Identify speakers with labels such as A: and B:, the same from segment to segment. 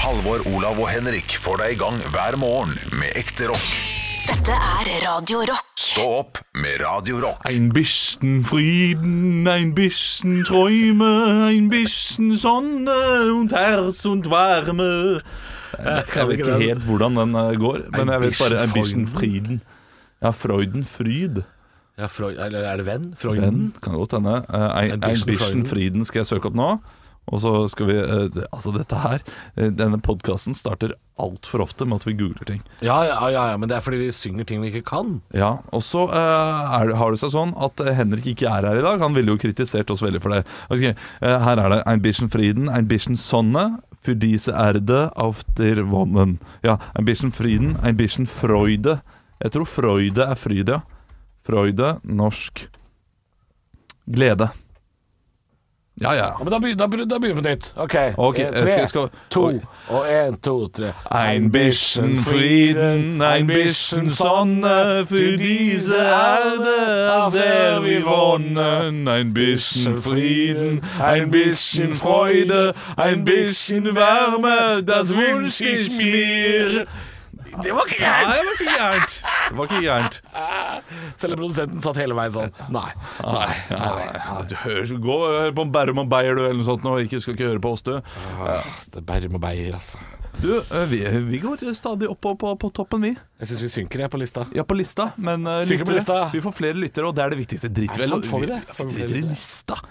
A: Halvor, Olav og Henrik får deg i gang hver morgen med ekte rock.
B: Dette er Radio Rock.
A: Stå opp med Radio Rock.
C: Ein bisschen Frieden, ein bisschen Träume, ein bisschen Sonne und Herz und Varme. Jeg vet ikke helt hvordan den eh, går, men jeg vet bare Ein bisschen Frieden. Ja, Freuden, Fryd.
D: Ja, Freud, eller er det venn? Freuden?
C: Den kan godt hende. Eh, Ein,
D: Ein
C: ein
D: bisschen
C: Mm. bisschen
D: Freuden.
C: Frieden skal jeg søke opp nå. Og så skal vi eh, det- Altså, dette her eh, Denne podkasten starter altfor ofte med at vi googler ting.
D: Ja, ja, ja, ja, men det er fordi de synger ting vi ikke kan.
C: Ja, og så eh, er, det- har det seg sånn at eh, Henrik ikke er her i dag. Han ville jo kritisert oss veldig for det. Ok, eh, her er det Ein bisschen Frieden, ein bisschen Sonne, für diese Erde auf der Wonnen. Ja, ein bisschen Frieden, ein bisschen Freude. Jeg tror Freude er fryd, ja. Freude, norsk. Glede. Ja, ja.
D: men da, begynner vi på nytt. OK.
C: Ok, Eh, tre, jeg skal- jeg skal- to,
D: og én, to, tre.
C: Ein bisschen Frieden, ein bisschen Sonne für diese Erde, auf der wir wohnen. Ein bisschen Frieden, ein bisschen Freude, ein bisschen Wärme, das wünsche ich mir.
D: Det var ikke
C: Nei,
D: gærent!
C: det var ikke gærent. Det var ikke gærent.
D: Selv om produsenten satt hele veien sånn. Nei.
C: Nei, nei, nei. Du hører, gå og hør på Bærum og Beyer, du, eller noe sånt nå. Ikke, skal ikke høre på oss, du.
D: Det bærer med beier, altså.
C: Du, eh, vi, vi går stadig opp på, på, på toppen, vi.
D: Jeg syns vi synker, jeg, på lista.
C: Ja, på lista, men eh,
D: Sikkert på
C: lyttere.
D: lista.
C: Vi får flere lyttere, og det er det viktigste. Drit
D: Er det
C: vel.
D: sant? Får vi det? Får vi flere
C: Driter i
D: lyttere?
C: lista.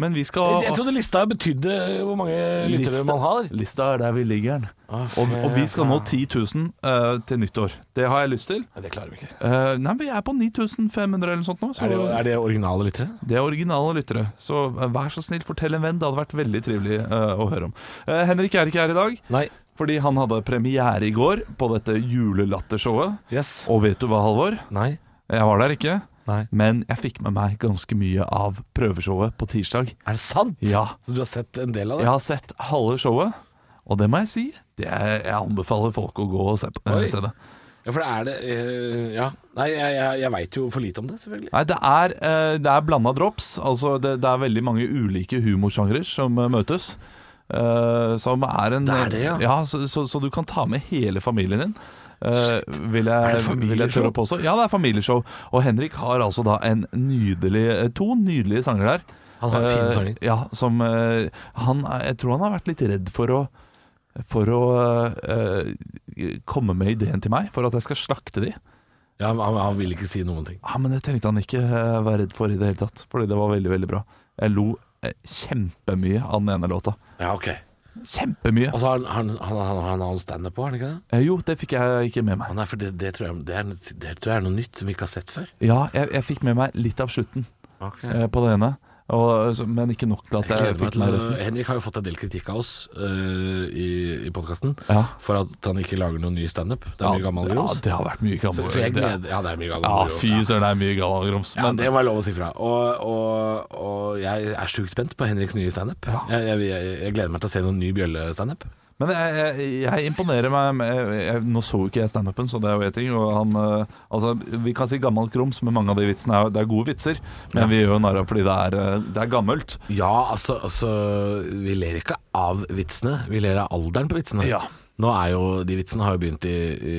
C: Men vi skal
D: Jeg trodde lista betydde hvor mange lyttere man har.
C: Lista er der vi ligger den.
D: Å,
C: Og,
D: fy-
C: og vi skal nå 10 000 eh, til nyttår. Det har jeg lyst til.
D: Nei, Det klarer vi ikke.
C: Eh, nei, men jeg er på 9500 eller noe sånt nå. Så
D: Er det, er det originale lyttere?
C: Det er originale lyttere, så eh, vær så snill, fortell en venn. Det hadde vært veldig trivelig eh, å høre om. Eh, Henrik er ikke her i dag,
D: Nei.
C: fordi han hadde premiere i går på dette julelattershowet.
D: Yes.
C: Og vet du hva, Halvor?
D: Nei.
C: Jeg var der ikke.
D: Nei.
C: Men jeg fikk med meg ganske mye av prøveshowet på tirsdag.
D: Er det sant?
C: Ja.
D: Så du har sett en del av det?
C: Jeg har sett halve showet, og det må jeg si. Det er, jeg anbefaler folk å gå og se, på, eh,
D: Oi.
C: se det.
D: Ja, for det er det eh, Ja. Nei, jeg, jeg, jeg veit jo for lite om det, selvfølgelig.
C: Nei, det er, eh, det er blanda drops. Altså, det, det er veldig mange ulike humorsjangre som eh, møtes. Eh, som er en
D: Det er det, ja.
C: så, så, så du kan ta med hele familien din. eh, vil jeg, vil
D: det
C: jeg
D: familieshow?
C: tørre å påstå. Ja, det er familieshow. Og Henrik har altså da en nydelig, eh, to nydelige sanger der.
D: Han har fine
C: Eh,
D: sanger.
C: Ja, som eh, han, er- Jeg tror han har vært litt redd for å For å eh, komme med ideen til meg, for at jeg skal slakte de.
D: Ja, han, han- han vil ikke si noen ting.
C: Ja, Men det tenkte han ikke eh, være redd for i det hele tatt, fordi det var veldig veldig bra. Jeg lo eh, kjempemye av den ene låta.
D: Ja, ok.
C: Kjempemye!
D: Og så har han, han, han, han, han, han standup på, har han ikke det?
C: Eh, jo, det fikk jeg ikke med meg.
D: Han er, for det, det, tror jeg, det, er, det tror jeg er noe nytt som vi ikke har sett før.
C: Ja, jeg, jeg fikk med meg litt av slutten eh, på det ene, og, så- men ikke nok til at
D: Jeg
C: jeg
D: gleder meg
C: fikk
D: til
C: med
D: å-
C: resten.
D: Henrik har jo fått en del kritikk av oss eh, i, i podkasten
C: Ja.
D: for at han ikke lager noen ny standup. Det er mye gammel
C: ja,
D: grums.
C: det har vært mye
D: så,
C: gammel
D: så jeg
C: det er-
D: gleder Ja, det er mye gammel
C: Ja,
D: grums.
C: fy søren, det er mye gammel grums.
D: Ja, det må jeg lov å si fra. Og, og, og jeg er sjukt spent på Henriks nye standup.
C: Ja.
D: Jeg, jeg, jeg, jeg gleder meg til å se noen ny bjøllestandup.
C: Men jeg, jeg, jeg imponerer meg med, jeg, Nå så jo ikke jeg standupen, så det er jo en ting. Og han, eh, altså, vi kan si gammelt grums, men mange av de vitsene er, det er gode vitser. Men
D: Ja.
C: vi gjør jo narr av fordi det er, eh, det er gammelt.
D: Ja, altså, altså Vi ler ikke av vitsene, vi ler av alderen på vitsene.
C: Ja.
D: Nå er jo De vitsene har jo begynt i, i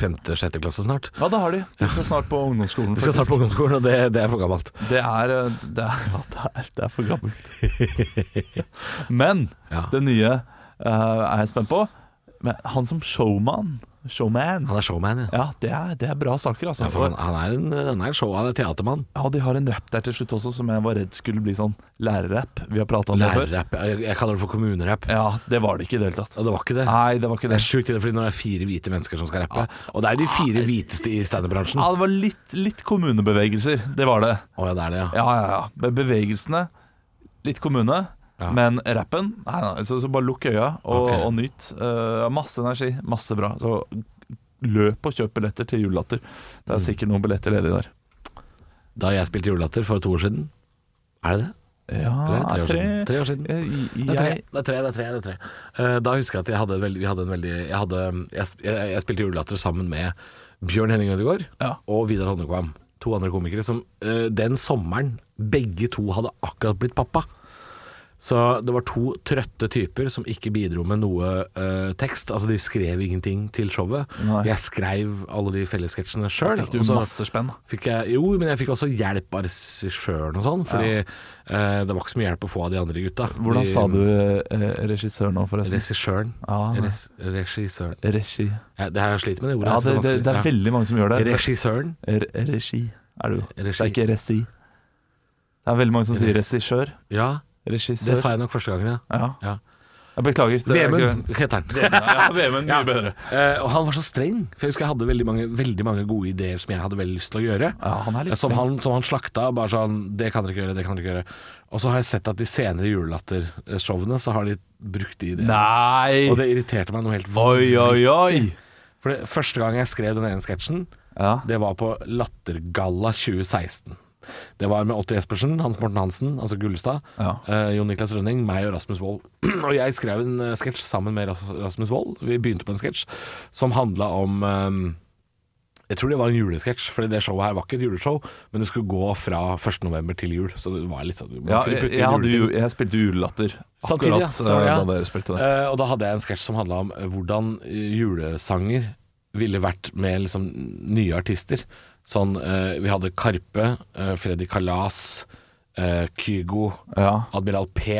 D: femte-sjette klasse snart.
C: Ja, det har de. De skal snart på ungdomsskolen.
D: Vi skal snart på ungdomsskolen, og det, det er for gammelt.
C: Det er, eh, det er, ja, det er, det er for gammelt. men
D: Ja.
C: det nye eh, er jeg spent på. Men han som showman, showman
D: Han er showman, ja.
C: ja, det er, det er bra saker, altså.
D: ja for han, han er en, han er en show, han er teatermann.
C: Ja, de har en rapp der til slutt også som jeg var redd skulle bli sånn lærerrapp. Vi har prata om det før.
D: Lærerrapp. Jeg, jeg kaller det for kommunerapp.
C: Ja, det var det ikke i det hele tatt.
D: Og det var Ah, ikke det.
C: Nei, det var ikke
D: Det Ah.
C: det.
D: er sjukt, fordi når det er fire hvite mennesker som skal rappe, og det er jo de fire hviteste i standup-bransjen.
C: Ja, det var litt, litt kommunebevegelser. Det var det.
D: Å ja, det er det, ja.
C: Ja, ja, ja. Be- Bevegelsene, litt kommune.
D: Ja.
C: Men rappen nei, nei, så, så bare lukk øya og,
D: Ok.
C: og nyt. Eh, masse energi, masse bra. Så løp og kjøp billetter til Julelatter. Det
D: Mm.
C: er sikkert noen billetter ledige der.
D: Da jeg spilte julelatter for to år siden Er det det?
C: Ja,
D: Eller er det tre år siden? Tre år siden.
C: Eh,
D: Det er tre,
C: Jeg,
D: det er tre. det er tre, det er tre. Eh, da husker jeg at jeg hadde veldig, vi hadde en veldig Jeg, hadde, jeg, sp- jeg, jeg spilte julelatter sammen med Bjørn Henning Ødegaard
C: Ja.
D: og Vidar Honnekvam. To andre komikere som eh, den sommeren begge to hadde akkurat blitt pappa. Så det var to trøtte typer som ikke bidro med noe eh, tekst. Altså, de skrev ingenting til showet.
C: Nei.
D: Jeg skrev alle de fellessketsjene sjøl.
C: Fikk du masse spenn?
D: Fikk jeg, jo, men jeg fikk også hjelp av regissøren og sånn, fordi eh, det var ikke så mye hjelp å få av de andre gutta.
C: Hvordan
D: de,
C: sa du eh, regissør nå, forresten?
D: Regissøren.
C: Ah, nei.
D: Res, regissøren.
C: Regi.
D: Ja, det har jeg slitt med, det ordet.
C: Ja,
D: så
C: det, det,
D: vanskelig.
C: det er
D: Ja.
C: veldig mange som gjør det.
D: Regissøren.
C: R regi er det jo. Det
D: Regi.
C: er ikke resi. Det er veldig mange som sier regissør.
D: Ja, det
C: Regissør.
D: sa jeg nok første gangen, ja.
C: Ja.
D: ja.
C: Jeg beklager. det er
D: Vemund
C: ikke-
D: heter han.
C: Ja, Vemund. Mye bedre.
D: Eh, og han var så streng, for jeg husker jeg hadde veldig mange, veldig mange gode ideer som jeg hadde veldig lyst til å gjøre.
C: Ja, han er litt
D: som,
C: streng.
D: han, som han slakta, bare sånn Det kan dere ikke gjøre, det kan dere ikke gjøre. Og så har jeg sett at de senere julelatter-showene så har de brukt de ideene.
C: Nei!
D: Og det irriterte meg noe helt
C: Oi, oi, oi!
D: For det, første gang jeg skrev den ene sketsjen,
C: Ja.
D: det var på Lattergalla 2016. Det var med Otto Jespersen, Hans Morten Hansen, altså Gullestad,
C: Ja.
D: eh, Jon Niklas Rønning, meg og Rasmus Wold. og jeg skrev en eh, sketsj sammen med Ras- Rasmus Wold. Vi begynte på en sketsj som handla om eh, jeg tror det var en julesketsj, for det showet her var ikke et juleshow, men det skulle gå fra 1. november til jul, så det var litt sånn man
C: Ja,
D: kunne
C: jeg,
D: putte inn
C: jeg, hadde
D: juleting.
C: jo, jeg spilte julelatter
D: Samtidig, ja.
C: akkurat
D: Stemmer,
C: eh,
D: ja.
C: da dere spilte det.
D: Eh, og da hadde jeg en sketsj som handla om eh, hvordan eh, julesanger ville vært med liksom, nye artister. Sånn, eh, vi hadde Karpe, eh, Freddy Kalas, eh, Kygo,
C: Ja.
D: Admiral P.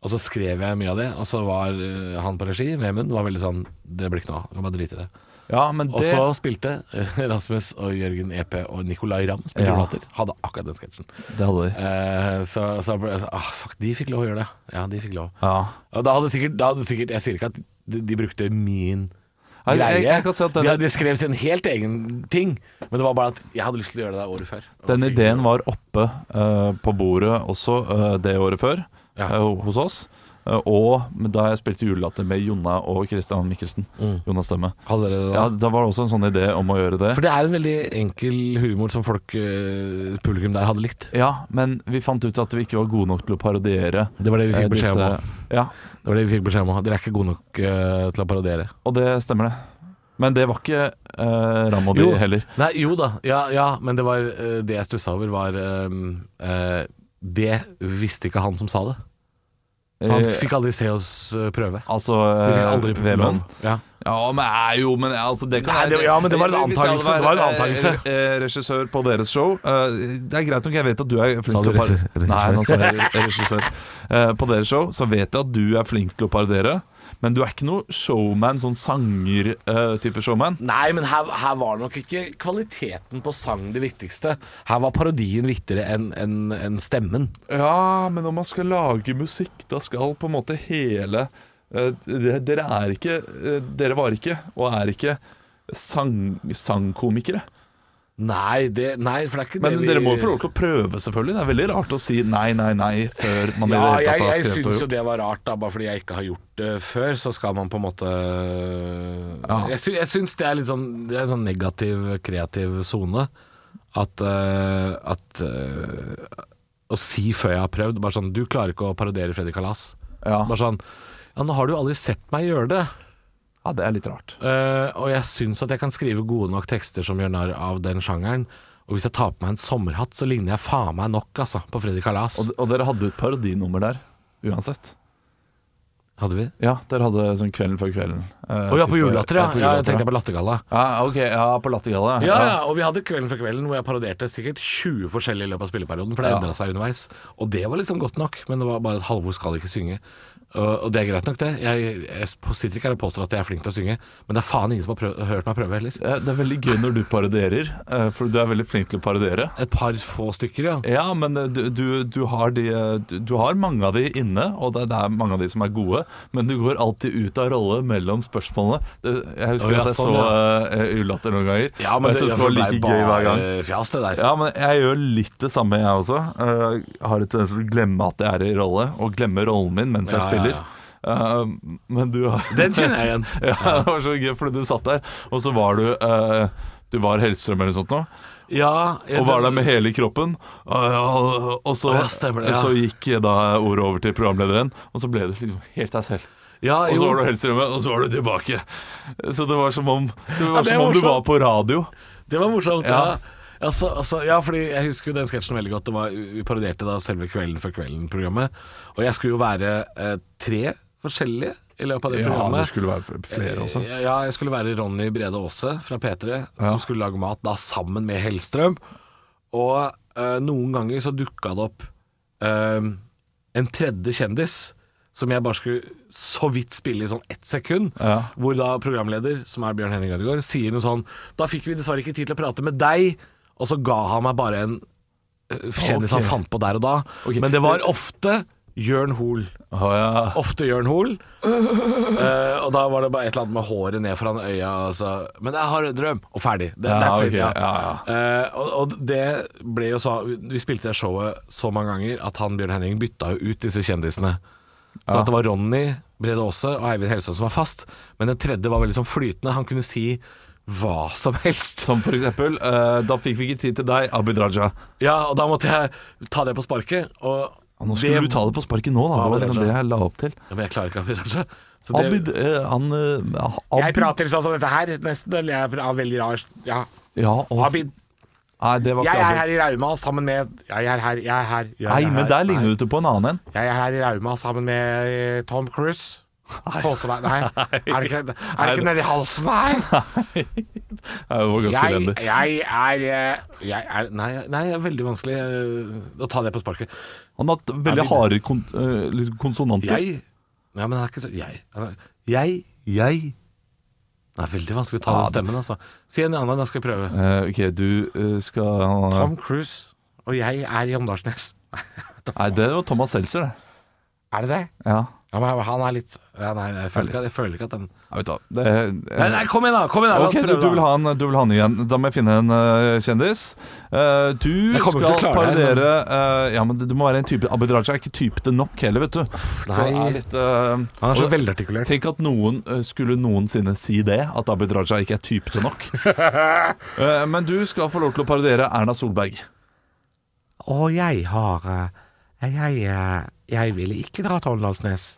D: Og så skrev jeg mye av det, og så var eh, han på regi, Vemund, var veldig sånn Det blir ikke noe av, kan bare drite i det.
C: Ja, men
D: Og
C: det
D: så spilte eh, Rasmus og Jørgen EP og Nicolay Ramm spilte
C: Ja.
D: julelatter. Hadde akkurat den sketsjen.
C: Det hadde de.
D: Eh, så, så ble jeg sånn ah, Fuck, de fikk lov å gjøre det. Ja, de fikk lov.
C: Ja.
D: Og da hadde sikkert, da hadde sikkert Jeg sier ikke at de, de brukte min
C: Jeg-
D: greie.
C: jeg- jeg kan si at denne-
D: de, hadde- de skrev sin helt egen ting, men det var bare at jeg hadde lyst til å gjøre det der året før.
C: Den ideen var oppe eh, på bordet også eh, det året før
D: Ja.
C: eh, hos oss. Eh, og da jeg spilte julelatter med Jonna og Christian Mikkelsen. Jonas Stemme.
D: Mm. Hadde dere det da?
C: Ja, Da var det også en sånn idé om å gjøre det.
D: For det er en veldig enkel humor som folk eh, publikum der hadde likt.
C: Ja, Men vi fant ut at vi ikke var gode nok til å parodiere.
D: Det var det vi
C: eh,
D: fikk beskjed om.
C: disse-
D: også.
C: Ja,
D: Det var det vi fikk beskjed om. også. Dere er ikke gode nok eh, til å parodiere.
C: og det stemmer, det. Men det var ikke uh, Ram og de
D: Jo.
C: heller.
D: Nei, jo da. Ja, ja men det, var, eh, det jeg stussa over, var eh, eh, Det visste ikke han som sa det. Han
C: Eh,
D: fikk aldri se oss eh, prøve.
C: altså
D: Vi fikk
C: eh,
D: aldri
C: Vemund.
D: Ja.
C: Ja, men eh, jo, men eh, altså det kan
D: Nei, det- ja, men det var en
C: Hvis jeg hadde
D: antakelse, det var en
C: vært,
D: antakelse.
C: eh, eh, Regissør på deres show eh, Det er greit nok, jeg vet at du er flink
D: Sa du
C: til å par-
D: regissør?
C: Nei, nå sa jeg re- regissør Eh, På deres show så vet jeg at du er flink til å parodiere Men du er ikke noe showman, sånn sanger-type showman
D: Nei, men her, her var nok ikke kvaliteten på sang det viktigste. Her var parodien viktigere enn enn- enn stemmen.
C: Ja, men når man skal lage musikk, da skal på en måte hele eh, det- Dere er ikke eh, Dere var ikke, og er ikke, sang, sangkomikere.
D: Nei, det, nei, for det er ikke
C: Men
D: det vi
C: dere må jo få lov til å prøve, selvfølgelig. Det er veldig rart å si nei, nei, nei før man i
D: ja,
C: det hele
D: jeg,
C: tatt har
D: jeg
C: skrevet
D: syns jo
C: og gjort.
D: det var rart, da, bare fordi jeg ikke har gjort det før, så skal man på en måte øh,
C: Ja.
D: Jeg, sy, jeg syns det er litt sånn, det er en sånn negativ, kreativ sone. At, eh, at eh, Å si før jeg har prøvd Bare sånn Du klarer ikke å parodiere Freddy Kalas.
C: Ja.
D: Bare sånn Ja, nå har du jo aldri sett meg gjøre det.
C: ja, det er litt rart.
D: Eh, og jeg syns at jeg kan skrive gode nok tekster som gjør narr av den sjangeren. Og hvis jeg tar på meg en sommerhatt, så ligner jeg faen meg nok altså, på Freddy Kalas.
C: Og, og dere hadde et parodinummer der, uansett.
D: Hadde vi?
C: Ja, dere hadde sånn Kvelden før kvelden. Å
D: Å ja, på julelatter, ja. ja. Jeg tenkte
C: på
D: på Lattergalla.
C: ja, Ah, ok, ja, på Lattergalla.
D: Ja, ja, og vi hadde Kvelden før kvelden hvor jeg parodierte sikkert 20 forskjellige i løpet av spilleperioden, for det
C: Ja.
D: endra seg underveis. Og det var liksom godt nok, men det var bare at Halvor skal ikke synge. Og og det er greit nok, det. Jeg, jeg sitter ikke her og påstår at jeg er flink til å synge, men det er faen ingen som har prøv, hørt meg prøve heller.
C: Eh, Det er veldig gøy når du parodierer, eh, for du er veldig flink til å parodiere.
D: Et par få stykker, ja.
C: Ja, men eh, du, du, du, har de, eh, du- du har mange av de inne, og det, det er mange av de som er gode, men du går alltid ut av rolle mellom spørsmålene. Det- Jeg
D: Å,
C: husker
D: ja,
C: at jeg
D: sånn,
C: så eh, Ulatter noen ganger,
D: Ja, men
C: og jeg syntes det var
D: ble
C: like gøy hver gang.
D: bare Fjas, det der.
C: Ja, men jeg gjør litt det samme, jeg også. Jeg har et tendens til å glemme at jeg er i rolle, og glemme rollen min mens jeg
D: Ja, ja,
C: spiller.
D: ja.
C: Eh, men du har
D: Den kjenner jeg igjen.
C: ja, det var så gøy, fordi du satt der, og så var du eh, Du var Hellstrøm eller noe sånt nå,
D: Ja,
C: og var der med hele kroppen. Og, og, og så,
D: Å, ja, stemmer det, ja.
C: så gikk da ordet over til programlederen, og så ble du liksom helt deg selv.
D: ja,
C: Og så
D: jo.
C: var du Hellstrøm, og så var du tilbake. Så det var som om, det var
D: det er
C: som om du
D: morsomt.
C: var på radio.
D: Det var morsomt.
C: Ja.
D: Ja. Altså, altså, ja, fordi jeg husker jo den sketsjen veldig godt. Det var, vi parodierte da selve Kvelden før kvelden-programmet. Og jeg skulle jo være eh, tre forskjellige i løpet av det
C: Ja,
D: programmet.
C: det skulle være flere også.
D: Eh, Ja, jeg skulle være Ronny Brede Aase fra P3, som skulle lage mat da sammen med Hellstrøm. Og eh, noen ganger så dukka det opp eh, en tredje kjendis. Som jeg bare skulle så vidt spille i sånn ett sekund.
C: Ja.
D: Hvor da programleder, som er Bjørn Henning Ødegaard, sier noe sånn Da fikk vi dessverre ikke tid til å prate med deg, og så ga han meg bare en eh, kjendis
C: Ok.
D: han fant på der og da.
C: Ok.
D: Men det var ofte Jørn Hoel.
C: Å, ja.
D: Ofte Jørn Hoel. Eh, og da var det bare et eller annet med håret ned foran øya. Og så, Men jeg har en drøm! Og ferdig. Det,
C: Ja,
D: that's
C: ok,
D: it. Ja.
C: ja,
D: Eh, og, og det ble jo så Vi spilte det showet så mange ganger at han Bjørn Henning bytta jo ut disse kjendisene. Så at det var Ronny, Brede Aase og Eivind Hellstrøm som var fast. Men den tredje var veldig sånn flytende. Han kunne si hva som helst.
C: Som for eksempel eh, Da fikk vi ikke tid til deg, Abid Raja.
D: Ja, og da måtte jeg ta det på sparket. Og
C: Ja, Nå skulle
D: det-
C: du ta det på sparket nå, da. Det var
D: Abid
C: liksom
D: Raja.
C: det jeg la opp til.
D: Ja, Men jeg klarer ikke Abid Raja. Så det-
C: Abid, eh, han eh,
D: Jeg
C: Abid,
D: prater sånn som dette her, nesten. Eller jeg er veldig rar. Ja.
C: ja, og,
D: Abid.
C: Nei, det var
D: Jeg
C: ikke
D: er
C: Abid.
D: her i Rauma sammen med Jeg er her, jeg er her. Jeg er
C: Nei,
D: her.
C: men der
D: Nei.
C: ligner du på en annen en.
D: Jeg er her i Rauma sammen med eh, Tom Cruise. Kåseveien Nei. Er det ikke, er det ikke nedi halsen her?
C: Ja, det var ganske
D: Jeg,
C: elendig.
D: jeg er eh, Jeg er Nei, nei det er veldig vanskelig eh, å ta det på sparket.
C: Han har hatt veldig
D: Abid.
C: harde kon eh, liksom konsonanter.
D: Jeg Ja, men det er ikke så Jeg. Jeg. Jeg. Det er veldig vanskelig å ta den stemmen, altså. Si en annen, da skal jeg prøve.
C: Eh, ok, du eh, skal
D: Tom Cruise og jeg er i Åndalsnes.
C: Nei, det var Thomas Seltzer, det.
D: Er det det?
C: Ja.
D: Ja, men han er litt ja, Nei, jeg føler ikke, jeg føler ikke at den
C: Nei, vet du hva. Det,
D: Nei, nei, kom igjen, da! Kom igjen da, la oss
C: Ok, du,
D: prøve,
C: du,
D: da.
C: vil ha en, du vil ha en igjen. Da må jeg finne en eh, kjendis. Eh, du
D: Jeg kommer
C: skal
D: ikke til å klare det her,
C: parodiere eh, Ja, men du må være en type Abid Raja er ikke typete nok heller, vet du. Så det er litt eh,
D: Han er så
C: og-
D: velartikulert.
C: Tenk at noen eh, skulle noensinne si det, at Abid Raja ikke er typete nok. Eh, men du skal få lov til å parodiere Erna Solberg.
D: Og jeg har eh, Jeg, eh, jeg ville ikke dra til Åndalsnes.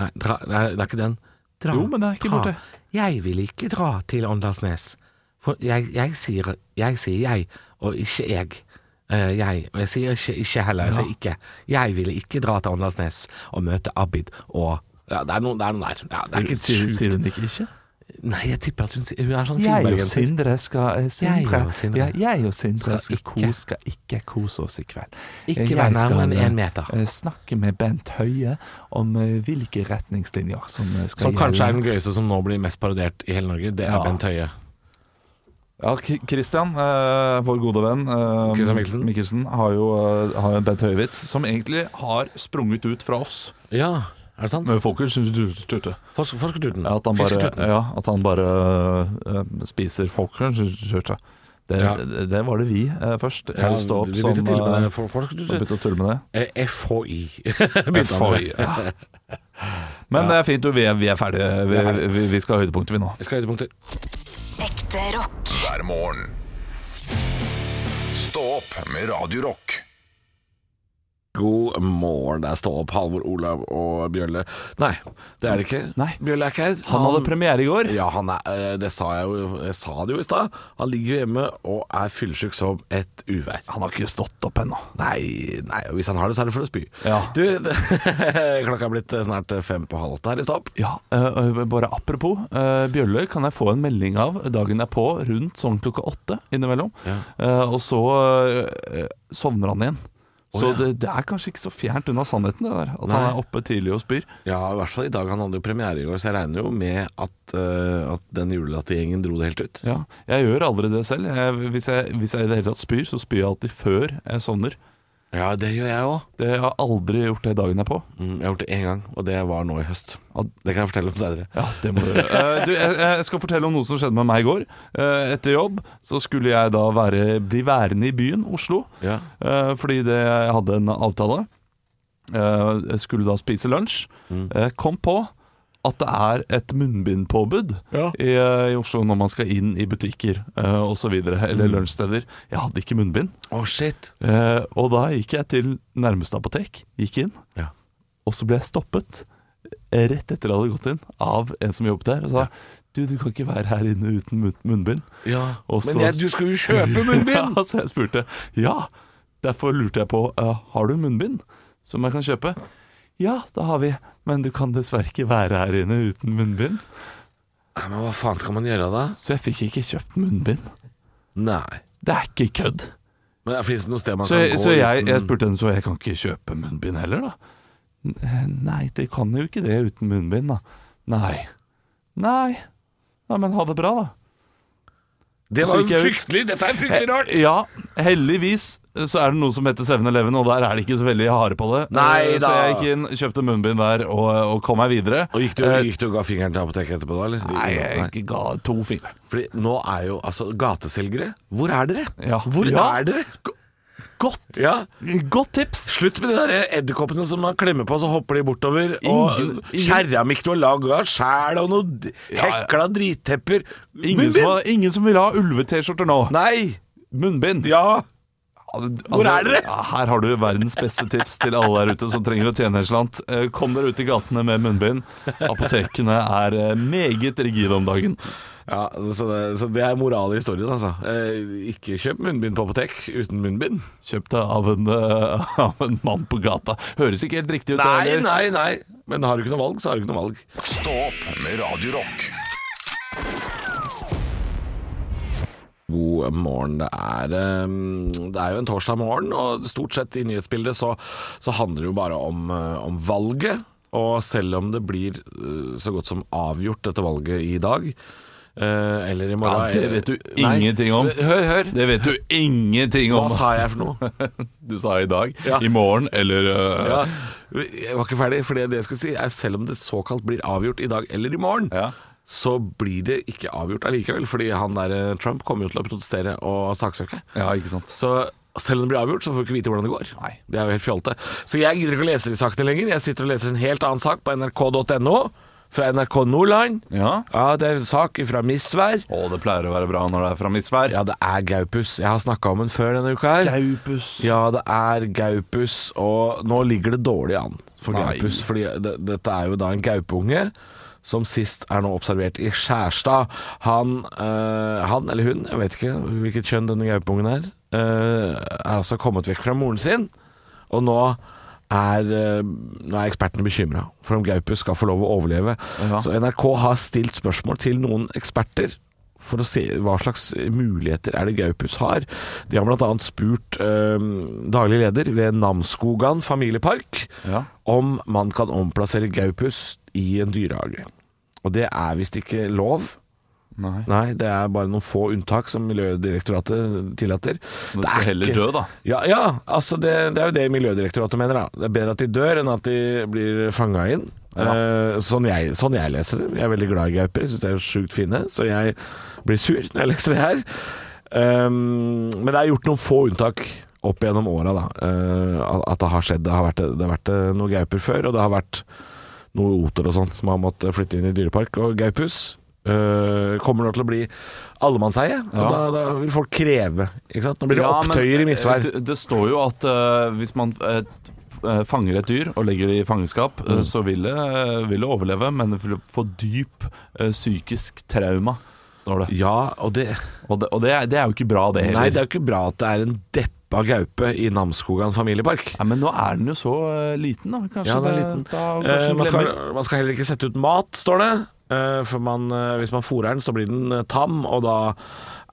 D: Nei, dra, nei, det er ikke den. Dra,
C: Jo, men det er ikke
D: dra.
C: borte.
D: Jeg ville ikke dra til Åndalsnes. For jeg, jeg, sier, jeg sier jeg, og ikke jeg. Eh, jeg. Og jeg sier ikke, ikke heller. Jeg sier ikke. Jeg ville ikke dra til Åndalsnes og møte Abid og ja, det er noen, det er noen der. Ja, det er ikke
C: sier,
D: sjukt.
C: sier hun ikke ikke?
D: Nei, jeg tipper at hun, sier- hun er sånn
C: Jeg og
D: finnbergenser.
C: Sindre skal eh, Sindre,
D: Jeg og Sindre.
C: ja, jeg og Sindre
D: Skal
C: skal,
D: ikke-
C: kose, skal ikke kose oss i kveld.
D: Ikke
C: Eh, jeg
D: være nærmere
C: skal,
D: enn
C: eh,
D: en meter.
C: eh, Snakke med Bent Høie om eh, hvilke retningslinjer som eh, skal
D: Som kanskje er den gøyeste som nå blir mest parodiert i hele Norge. Det er
C: Ja.
D: Bent Høie.
C: Ja, K- Christian, eh, vår gode venn eh,
D: Christian Mikkelsen.
C: har jo eh, har en Bent Høie-vits som egentlig har sprunget ut fra oss.
D: Ja, er det sant?
C: Men Folkens syns du tutte.
D: Forsk- Forskertuten.
C: Ja, at han bare,
D: Fisketuten.
C: ja, at han bare eh, spiser folkens tutte. Det,
D: Ja.
C: det, det var det vi eh, først. Jeg
D: Ja,
C: vil stå opp
D: vi
C: som
D: begynte til og med
C: eh,
D: det, for-
C: og
D: Forskertuten.
C: begynte å tulle med det.
D: Eh, FHI. Begynte han med.
C: Ja. Men det er fint, du. Vi er, vi er ferdige. Vi,
D: er ferdige.
C: vi, vi skal ha høydepunktet, vi nå.
D: Jeg skal ha høydepunkter.
B: Ekte rock.
A: hver morgen. Stå opp med Radio Rock.
D: God morgen. Der står opp Halvor, Olav og Bjølle. Nei, det er det ikke.
C: Nei.
D: Bjølle er ikke her.
C: Han hadde premiere i går.
D: Ja, han er, eh, det sa jeg jo Jeg sa det jo i stad. Han ligger jo hjemme og er fyllesyk som et uvær.
C: Han har ikke stått opp ennå.
D: Nei, nei, og hvis han har det, så er det for å spy.
C: Ja.
D: Du, det, klokka er blitt eh, snart fem på halv åtte her i Stopp.
C: Ja, øh, øh, bare apropos øh, Bjølle kan jeg få en melding av dagen er på, rundt sånn klokka åtte innimellom.
D: Ja.
C: Eh, og så øh, øh, sovner han igjen. så
D: ja.
C: det, det er kanskje ikke så fjernt unna sannheten, det der. At han
D: Nei.
C: er oppe tidlig og spyr.
D: Ja, i hvert fall i dag. Han hadde jo premiere i går, så jeg regner jo med at, eh, at den julelattergjengen dro det helt ut.
C: Ja, jeg gjør aldri det selv. Jeg, hvis, jeg, hvis jeg i det hele tatt spyr, så spyr jeg alltid før jeg sovner.
D: Ja, det gjør jeg òg.
C: Det, jeg har aldri gjort det dagen er på.
D: Mm, jeg har gjort det én gang, og det var nå i høst.
C: Ja,
D: Det kan jeg fortelle om seinere.
C: Ja, det må du gjøre. Eh, du, jeg, jeg skal fortelle om noe som skjedde med meg i går. Eh, etter jobb så skulle jeg da være, bli værende i byen, Oslo,
D: Ja.
C: eh, fordi det, jeg hadde en avtale. Eh, jeg skulle da spise lunsj. Eh, kom på at det er et munnbindpåbud
D: Ja.
C: i, eh, i Oslo når man skal inn i butikker uh, osv. Eller lunsjsteder. Jeg hadde ikke munnbind.
D: Å, shit.
C: Eh, og da gikk jeg til nærmeste apotek, gikk inn,
D: Ja.
C: og så ble jeg stoppet rett etter jeg hadde gått inn, av en som jobbet der, og sa du, du kan ikke være her inne uten mun- munnbind.
D: Ja,
C: Og så-
D: Men jeg, du skal jo kjøpe munnbind!
C: Ja, så jeg spurte Ja, derfor lurte jeg på eh, Har du munnbind som jeg kan kjøpe? Ja, det har vi Men du kan dessverre ikke være her inne uten munnbind
D: Nei, men hva faen skal man gjøre da?
C: Så jeg fikk ikke kjøpt munnbind
D: Nei.
C: Det er ikke kødd
D: Men Fins det noe sted man
C: Så, jeg,
D: kan gå
C: så jeg, jeg
D: uten-
C: spurte henne Så jeg kan ikke kjøpe munnbind heller da N- Nei, det kan jo ikke det uten munnbind da Nei Nei Nei, men ha det bra da
D: Det var
C: Så gikk
D: jo
C: jeg ut.
D: fryktelig! Dette er fryktelig rart!
C: Ja, heldigvis så er det noe som heter 7-Eleven, og der er de ikke så veldig harde på det.
D: Nei
C: Eh,
D: da.
C: Så jeg gikk inn, kjøpte munnbind der og, og kom meg videre.
D: Og gikk du,
C: Eh,
D: gikk du og ga fingeren til apoteket etterpå, da? Eller?
C: Nei, jeg ga to fingre.
D: Fordi nå er jo altså gateselgere Hvor er dere?
C: Ja.
D: Hvor
C: Ja.
D: er dere?
C: Godt,
D: Ja.
C: godt tips!
D: Slutt med de der edderkoppene som man klemmer på, så hopper de bortover. Og
C: Ingen- ingen-
D: keramikk du har lagd av sjæl, og noe d-
C: ja.
D: hekla drittepper.
C: Ingen som, har- ingen som vil ha ulve-T-skjorter nå.
D: Nei!
C: Munnbind.
D: Ja!
C: Hvor
D: er dere?
C: Altså, Ja, her har du verdens beste tips til alle der ute som trenger å tjene en slant. Eh, Kom dere ut i gatene med munnbind. Apotekene er eh, meget rigide om dagen.
D: ja så, det, så det er moral i historien, altså. Eh, ikke kjøp munnbind på apotek uten munnbind.
C: Kjøpt av en, eh, av en mann på gata. Høres ikke helt riktig ut. det
D: Nei,
C: heller.
D: nei, nei. Men har du ikke noe valg, så har du ikke noe valg.
A: Stå opp med Radio Rock.
D: God morgen. Det er, eh, det er jo en torsdag morgen, og stort sett i nyhetsbildet så, så handler det jo bare om, eh, om valget. Og selv om det blir eh, så godt som avgjort dette valget i dag, eh, eller i morgen
C: Ja, det vet du
D: eh, nei.
C: ingenting om.
D: Hør, hør.
C: Det vet du ingenting
D: Hva
C: om.
D: sa jeg for noe?
C: Du sa i dag,
D: Ja.
C: i morgen eller øh,
D: Ja, jeg var ikke ferdig. For det jeg skulle si, er selv om det såkalt blir avgjort i dag eller i morgen,
C: Ja.
D: så blir det ikke avgjort allikevel. Fordi han der eh, Trump kommer jo til å protestere og saksøke.
C: Ja, ikke sant.
D: Så selv om det blir avgjort, så får vi ikke vite hvordan det går.
C: Nei.
D: Det er jo helt fjolte. Så jeg gidder ikke å lese de sakene lenger. Jeg sitter og leser en helt annen sak på nrk.no, fra NRK Nordland.
C: Ja.
D: det er en sak fra Misvær.
C: Å, det pleier å være bra når det er fra Misvær.
D: Ja, det er Gaupus. Jeg har snakka om den før denne uka her.
C: Gaupus.
D: Ja, det er Gaupus, og nå ligger det dårlig an for
C: Nei.
D: Gaupus. Fordi det, dette er jo da en gaupunge som sist er nå observert i Skjærstad. Han, eh, han eller hun, jeg vet ikke hvilket kjønn denne gaupungen er, eh, er altså kommet vekk fra moren sin, og nå er, eh, nå er ekspertene bekymra for om Gaupus skal få lov å overleve.
C: Ja.
D: Så NRK har stilt spørsmål til noen eksperter for å se hva slags muligheter er det Gaupus har. De har bl.a. spurt eh, daglig leder ved Namsskogan familiepark
C: Ja.
D: om man kan omplassere Gaupus i en dyrehage. Og det er visst ikke lov.
C: Nei.
D: Nei, det er bare noen få unntak som Miljødirektoratet tillater.
C: Den
D: Det
C: skal
D: er
C: heller
D: ikke-
C: dø, da.
D: Ja, ja altså det, det er jo det Miljødirektoratet mener. da Det er bedre at de dør enn at de blir fanga inn. Eh, sånn, jeg, sånn jeg leser det. Jeg er veldig glad i gauper, syns de er sjukt fine. Så jeg blir sur når jeg leser det her. Um, men det er gjort noen få unntak opp gjennom åra, da. eh, at det har skjedd. Det har vært, det har vært eh, noen gauper før, og det har vært noe oter og sånt som har måttet flytte inn i dyrepark. Og gaupus øh, kommer nå til å bli allemannseie, og da,
C: Ja.
D: da vil folk kreve. Ikke sant? Nå blir det
C: Ja, men,
D: opptøyer
C: eh,
D: i misvær.
C: Det, det står jo at eh, hvis man eh, eh, fanger et dyr og legger det i fangenskap, eh,
D: Mm.
C: så vil det, eh, vil det overleve, men det vil få dyp eh, psykisk trauma, står det.
D: Ja, og det
C: Og, det, og det, er- det er jo ikke bra, det
D: Nei,
C: heller.
D: det er jo ikke bra at det er en deppa gaupe i Namsskogan familiepark.
C: Nei, men nå er den jo så eh, liten, da. Kanskje
D: Ja, den
C: det-
D: er liten.
C: Da, kanskje
D: Eh,
C: den
D: man, skal,
C: glemmer.
D: man skal heller ikke sette ut mat, står det. Eh, for man, eh, hvis man fôrer den, så blir den eh, tam, og da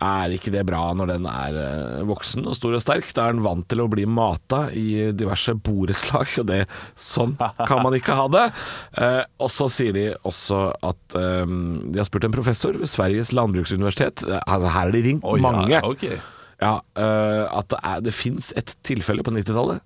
D: er ikke det bra når den er eh, voksen og stor og sterk. Da er den vant til å bli mata i diverse borettslag, og det, sånn kan man ikke ha det. Eh, og så sier de også at eh, de har spurt en professor ved Sveriges landbruksuniversitet. Eh, Altså, her er de ringt
C: Oi, ja,
D: mange.
C: ok.
D: Ja, øh, at det, er, det finnes et tilfelle på 90-tallet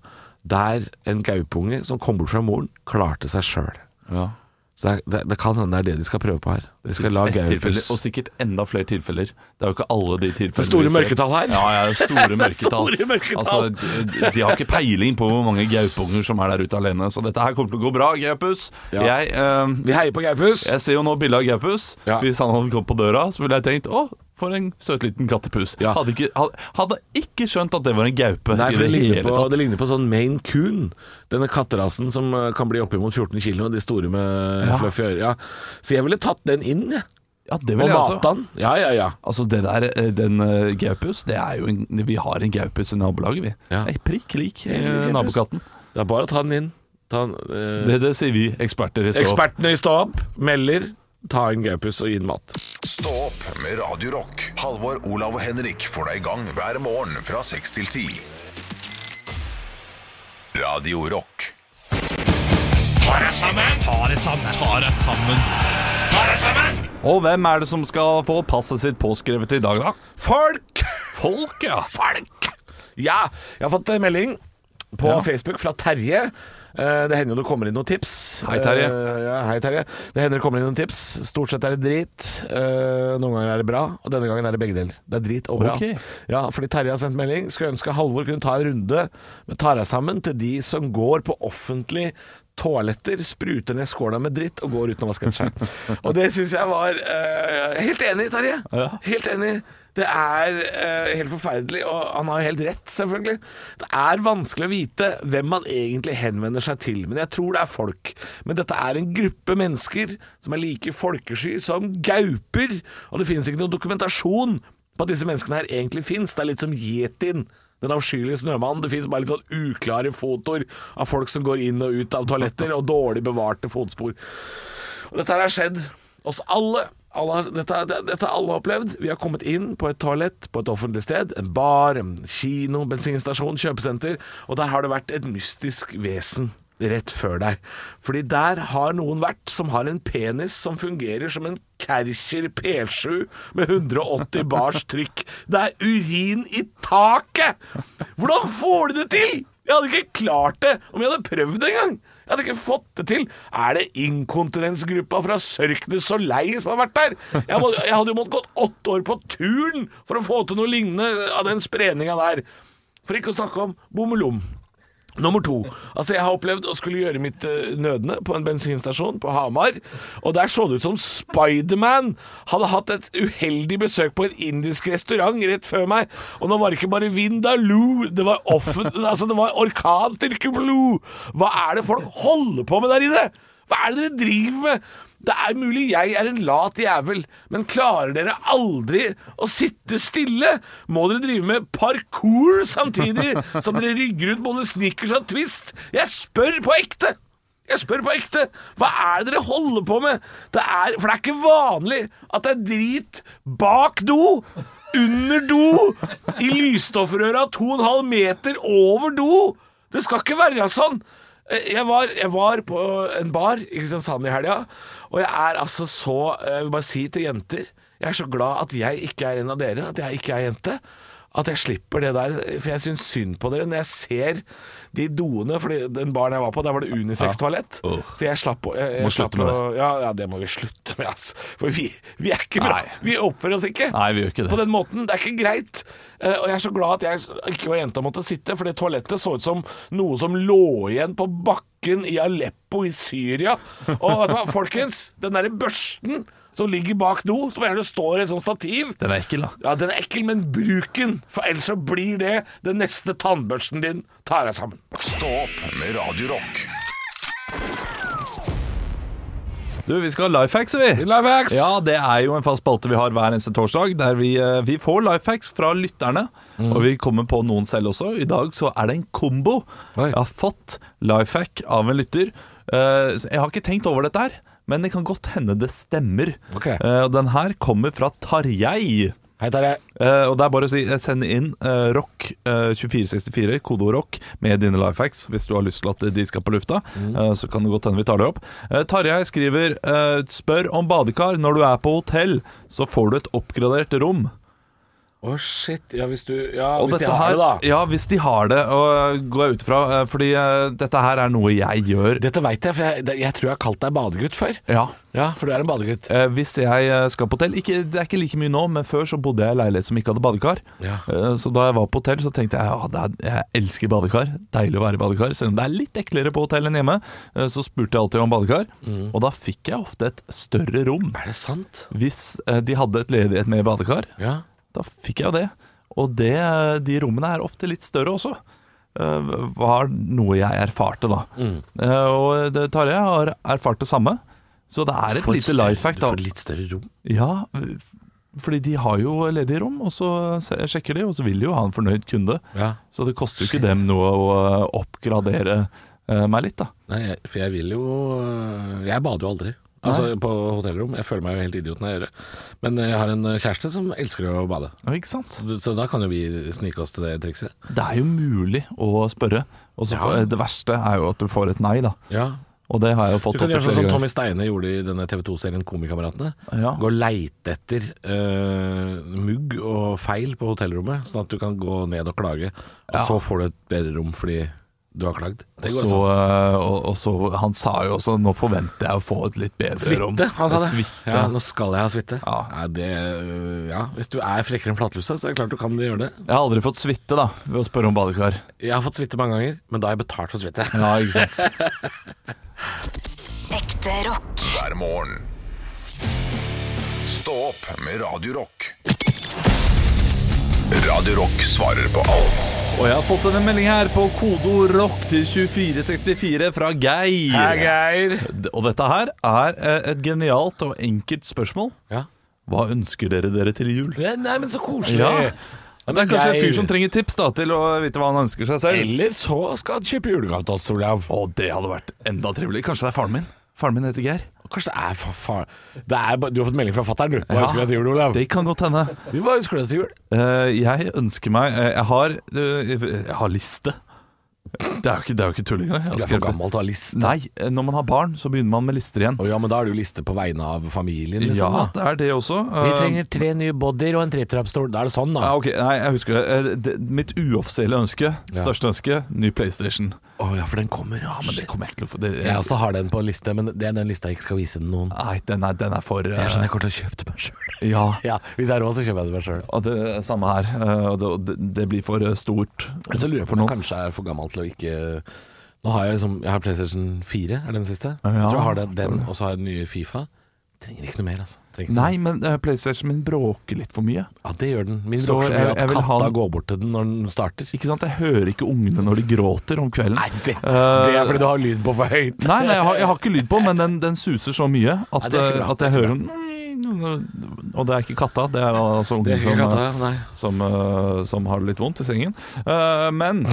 D: der en gaupunge som kom bort fra moren, klarte seg sjøl.
C: Ja.
D: Så det, det, det kan hende det er det de skal prøve på her. De skal la
C: Ett tilfelle,
D: gaupus
C: og sikkert enda flere tilfeller. Det er jo ikke alle de tilfellene
D: Det er store
C: vi ser.
D: mørketall her.
C: Ja, ja, det er store mørketall.
D: store mørketall.
C: Altså, de, de har ikke peiling på hvor mange gaupunger som er der ute alene, så dette her kommer til å gå bra, gaupus.
D: Ja.
C: Jeg, eh,
D: Vi heier på gaupus!
C: jeg ser jo nå bilde av gaupus.
D: Ja.
C: Hvis han hadde kommet på døra, så ville jeg tenkt å, for en søt liten kattepus.
D: Ja.
C: Hadde, ikke, hadde, hadde ikke skjønt at det var en gaupe.
D: Nei,
C: i
D: for det
C: hele
D: ligner, på,
C: tatt.
D: det ligner på sånn Maine Coon. Denne katterasen som eh, kan bli oppimot 14 kilo, de store med
C: Ja.
D: fluffy ører. Ja. Så jeg ville tatt den inn, jeg.
C: Ja, det
D: Og
C: vil jeg også.
D: mata den. Ja, ja, ja.
C: Altså det der, eh, den eh, gaupus, det er jo en, vi har en gaupus i nabolaget, vi.
D: Ja.
C: Det er prikk lik eh,
D: Helt lik gaupus.
C: nabokatten.
D: Det er bare å ta den inn. Ta den, eh,
C: Det, det sier vi eksperter i stå.
D: Ekspertene i Stå opp melder ta inn gaupus og gi den mat.
A: Stå opp med Radio Rock. Halvor, Olav og Henrik får deg i gang hver morgen fra 6 til 10. Radio Rock.
C: Og hvem er det som skal få passet sitt påskrevet i dag, da?
D: Folk! Folk, ja. Folk! Ja, jeg har fått en melding på
C: Ja.
D: Facebook fra Terje. Eh, Det hender jo det kommer inn noen tips.
C: Hei, Terje.
D: Eh, Ja, hei, Terje. Det hender det kommer inn noen tips. Stort sett er det drit. Eh, Noen ganger er det bra, og denne gangen er det begge deler. Det er drit og bra.
C: Ok.
D: Ja, fordi Terje har sendt melding. Skulle ønske Halvor kunne ta en runde med Tara sammen til de som går på offentlig toaletter, spruter ned skåla med dritt og går uten å vaske seg. Og det syns jeg var eh, Helt enig, Terje.
C: Ja.
D: Helt enig. Det er eh, helt forferdelig, og han har helt rett, selvfølgelig. Det er vanskelig å vite hvem man egentlig henvender seg til, men jeg tror det er folk. Men dette er en gruppe mennesker som er like folkesky som gauper, og det finnes ikke noen dokumentasjon på at disse menneskene her egentlig finnes. Det er litt som yetien. Den avskyelige snømannen. Det finnes bare litt sånn uklare fotoer av folk som går inn og ut av toaletter, og dårlig bevarte fotspor. Og dette her har skjedd oss alle. alle har- dette, det- dette har alle opplevd. Vi har kommet inn på et toalett på et offentlig sted. En bar, en kino, bensinstasjon, kjøpesenter. Og der har det vært et mystisk vesen rett før deg. Fordi der har noen vært som har en penis som fungerer som en Kercher P7 med 180 bars trykk. Det er urin i taket! Hvordan får du det til? Jeg hadde ikke klart det om jeg hadde prøvd det engang. Jeg hadde ikke fått det til. Er det inkontinensgruppa fra Sørknes og Lei som har vært der? Jeg, må, jeg hadde jo måttet gått åtte år på turn for å få til noe lignende av den spredninga der. For ikke å snakke om bommelom. Nummer to. Altså, jeg har opplevd å skulle gjøre mitt eh, nødne på en bensinstasjon på Hamar, og der så det ut som Spiderman hadde hatt et uheldig besøk på en indisk restaurant rett før meg, og nå var det ikke bare Vindaloo, det var offen... altså, det var orkanstyrke blod! Hva er det folk holder på med der inne? Hva er det dere driver med? Det er mulig jeg er en lat jævel, men klarer dere aldri å sitte stille? Må dere drive med parkour samtidig som dere rygger ut både snickers og twist? Jeg spør på ekte! Jeg spør på ekte! Hva er det dere holder på med? Det er, for det er ikke vanlig at det er drit bak do, under do, i lysstoffrøra 2,5 meter over do! Det skal ikke være sånn! Eh, Jeg var, jeg var på en bar i Kristiansand i helga, og jeg er altså så eh, Jeg vil bare si til jenter Jeg er så glad at jeg ikke er en av dere, at jeg ikke er jente. At jeg slipper det der, for jeg syns synd på dere når jeg ser de doene. For den baren jeg var på, der var det unisex-toalett.
C: Ja. Åh.
D: Så jeg slapp å jeg, jeg
C: Må
D: slapp
C: slutte med
D: å- Ja, ja, det må vi slutte med, altså. For vi, vi er ikke bra.
C: Nei.
D: Vi oppfører oss ikke
C: Nei, vi gjør ikke det.
D: på den måten. Det er ikke greit. Eh, og jeg er så glad at jeg ikke var jenta og måtte sitte, for det toalettet så ut som noe som lå igjen på bakken i Aleppo i Syria. Og vet du hva, folkens, den derre børsten som ligger bak do, som gjerne står i et sånt stativ
C: Den er ekkel, da.
D: ja, den er ekkel, men bruk den, for ellers så blir det den neste tannbørsten din. Tar deg sammen.
A: Stå opp med Radio Rock.
C: Du, vi skal ha life hacks, vi.
D: Live hacks!
C: Ja, det er jo en fast spalte vi har hver eneste torsdag, der vi, eh, vi får life hacks fra lytterne. Og vi kommer på noen selv også. I dag så er det en kombo.
D: Oi.
C: Jeg har fått life hack av en lytter. Eh, så Jeg har ikke tenkt over dette her, men det kan godt hende det stemmer.
D: Ok.
C: Eh, og Den her kommer fra Tarjei.
D: Hei, Terje.
C: Eh, og det er bare å si, eh, send inn eh, rock eh, 2464, kodeord rock, med dine life hacks hvis du har lyst til at de skal på lufta.
D: Mm.
C: Eh, så kan det godt hende vi tar det opp. Eh, Tarjei skriver eh, Spør om badekar når du er på hotell, så får du et oppgradert rom.
D: Å, shit. Ja, hvis du Ja,
C: Og
D: hvis de
C: dette her,
D: har det, da.
C: Ja, hvis de har det, og øh, går jeg ut fra. øh, Fordi øh, dette her er noe jeg gjør.
D: Dette veit jeg, for jeg, det- jeg tror jeg har kalt deg badegutt før.
C: Ja.
D: Ja, for du er en badegutt.
C: Eh, Hvis jeg øh, skal på hotell ikke, Det er ikke like mye nå, men før så bodde jeg i leilighet som ikke hadde badekar.
D: Ja.
C: Eh, Så da jeg var på hotell, så tenkte jeg at jeg elsker badekar. Deilig å være i badekar. Selv om det er litt eklere på hotell enn hjemme, eh, så spurte jeg alltid om badekar. Og da fikk jeg ofte et større rom.
D: Er det sant?
C: Hvis eh, de hadde et ledighet med badekar,
D: Ja.
C: da fikk jeg jo det. Og det, eh, de rommene er ofte litt større også. Eh, var noe jeg erfarte, da. Eh, og det, Tarjei har erfart det samme. Så det er et
D: Får
C: lite
D: større-
C: life hack,
D: Du
C: da.
D: får litt større rom.
C: Ja, eh, fordi de har jo ledige rom, og så se- sjekker de, og så vil de jo ha en fornøyd kunde.
D: Ja.
C: Så det koster jo ikke dem noe å eh, oppgradere eh, meg litt, da.
D: Nei, jeg, for jeg vil jo øh, Jeg bader jo aldri. Altså På hotellrom. Jeg føler meg jo helt idiot når jeg gjør det. Men jeg har en øh, kjæreste som elsker å bade.
C: Ja, ikke sant?
D: Så, så da kan jo vi snike oss til det trikset.
C: Det er jo mulig å spørre. Og så får- Det verste er jo at du får et nei, da.
D: Ja
C: Og det har jeg jo
D: Du
C: fått
D: kan
C: opp til
D: gjøre sånn
C: flere
D: som
C: ganger.
D: Tommy Steine gjorde i denne TV 2-serien Komikameratene.
C: Ja.
D: Gå og leite etter øh, mugg og feil på hotellrommet, sånn at du kan gå ned og klage. Og
C: Ja.
D: så får du et bedre rom fordi du har klagd.
C: Og
D: Det går
C: så,
D: sånn.
C: eh, og, og så, han sa jo også 'nå forventer jeg å få et litt bedre rom'. Eh,
D: Svitte, han sa det.
C: Svitte.
D: Ja, nå skal jeg ha suite. Ja.
C: Ja.
D: det, øh, ja. Hvis du er frekkere enn flatlusa, så er det klart du kan gjøre det.
C: Jeg har aldri fått suite, da, ved å spørre om badekar.
D: Jeg har fått suite mange ganger, men da har jeg betalt for suite.
C: Ja, ikke sant?
B: Ekte rock.
A: hver morgen. Stå opp med Radio Rock. Radio Rock svarer på alt
C: Og jeg har fått en melding her på kodeord rock til 2464 fra Geir.
D: Geir.
C: Og dette her er eh, et genialt og enkelt spørsmål.
D: Ja.
C: Hva ønsker dere dere til jul?
D: Nei, men så koselig.
C: Ja. Det er kanskje en fyr
D: Geir.
C: som trenger tips da til å vite hva han ønsker seg selv.
D: Eller så skal han kjøpe julegave til oss, Olav.
C: Å, det hadde vært enda triveligere. Kanskje det er faren min. Faren min heter Geir.
D: Kanskje det er for far... Det er, ba- du har fått melding fra fatter'n, du. Hva
C: Ja.
D: ønsker du deg til jul, Olav?
C: Det kan godt hende.
D: Du, Hva ønsker du deg til jul?
C: Eh, jeg ønsker meg eh, Jeg har eh, Jeg har liste. Det er jo ikke, det er jo ikke tull engang. Jeg har
D: Du er
C: skrevet
D: for
C: det.
D: gammel til å ha liste.
C: Nei, eh, når man har barn, så begynner man med lister igjen.
D: Å ja, men da er det jo liste på vegne av familien,
C: Ja,
D: liksom. da.
C: det er det også.
D: Vi
C: Eh,
D: trenger tre nye bodyer og en tripp-trapp-stol. Da er det sånn, da.
C: ja, ok, Nei, jeg husker det. Eh, det. Mitt uoffisielle ønske, største ønske, ny PlayStation.
D: Å ja, for den kommer. Ja,
C: Men det kommer jeg ikke til å få det,
D: Jeg også har den på en liste, men det er den lista jeg ikke skal vise til noen.
C: Nei, den er, den er for
D: Det
C: eh,
D: er sånn jeg kommer til å kjøpe til meg sjøl.
C: Ja.
D: Ja, hvis jeg har råd, så kjøper jeg det meg sjøl.
C: Og det er samme her. eh, og det, og det, det blir for eh, stort.
D: Men så lurer jeg på
C: For
D: om jeg
C: noen.
D: kanskje er for gammel til å ikke Nå har jeg liksom Jeg har PlayStation 4, er det den siste? jeg tror jeg har den, den og så har jeg den nye Fifa. Trenger ikke noe mer, altså. Trenger ikke noe
C: Nei, men eh, PlayStation min bråker litt for mye.
D: mer. Ja, det gjør den. Min
C: Så
D: bråker så mye
C: jeg-
D: at
C: jeg vil
D: katta
C: ha den-
D: går bort til den når den starter.
C: Ikke sant, Jeg hører ikke ungene når de gråter om kvelden.
D: Nei, det,
C: Eh,
D: det er fordi du har lyd på for høyt.
C: Nei, nei jeg, har, jeg har ikke lyd på, men den, den suser så mye at,
D: Nei, det er
C: eh,
D: ikke bra.
C: at jeg hører den Og det er ikke katta, det er altså ungen som, eh,
D: nei.
C: som, eh, som har det litt vondt i sengen. Eh, men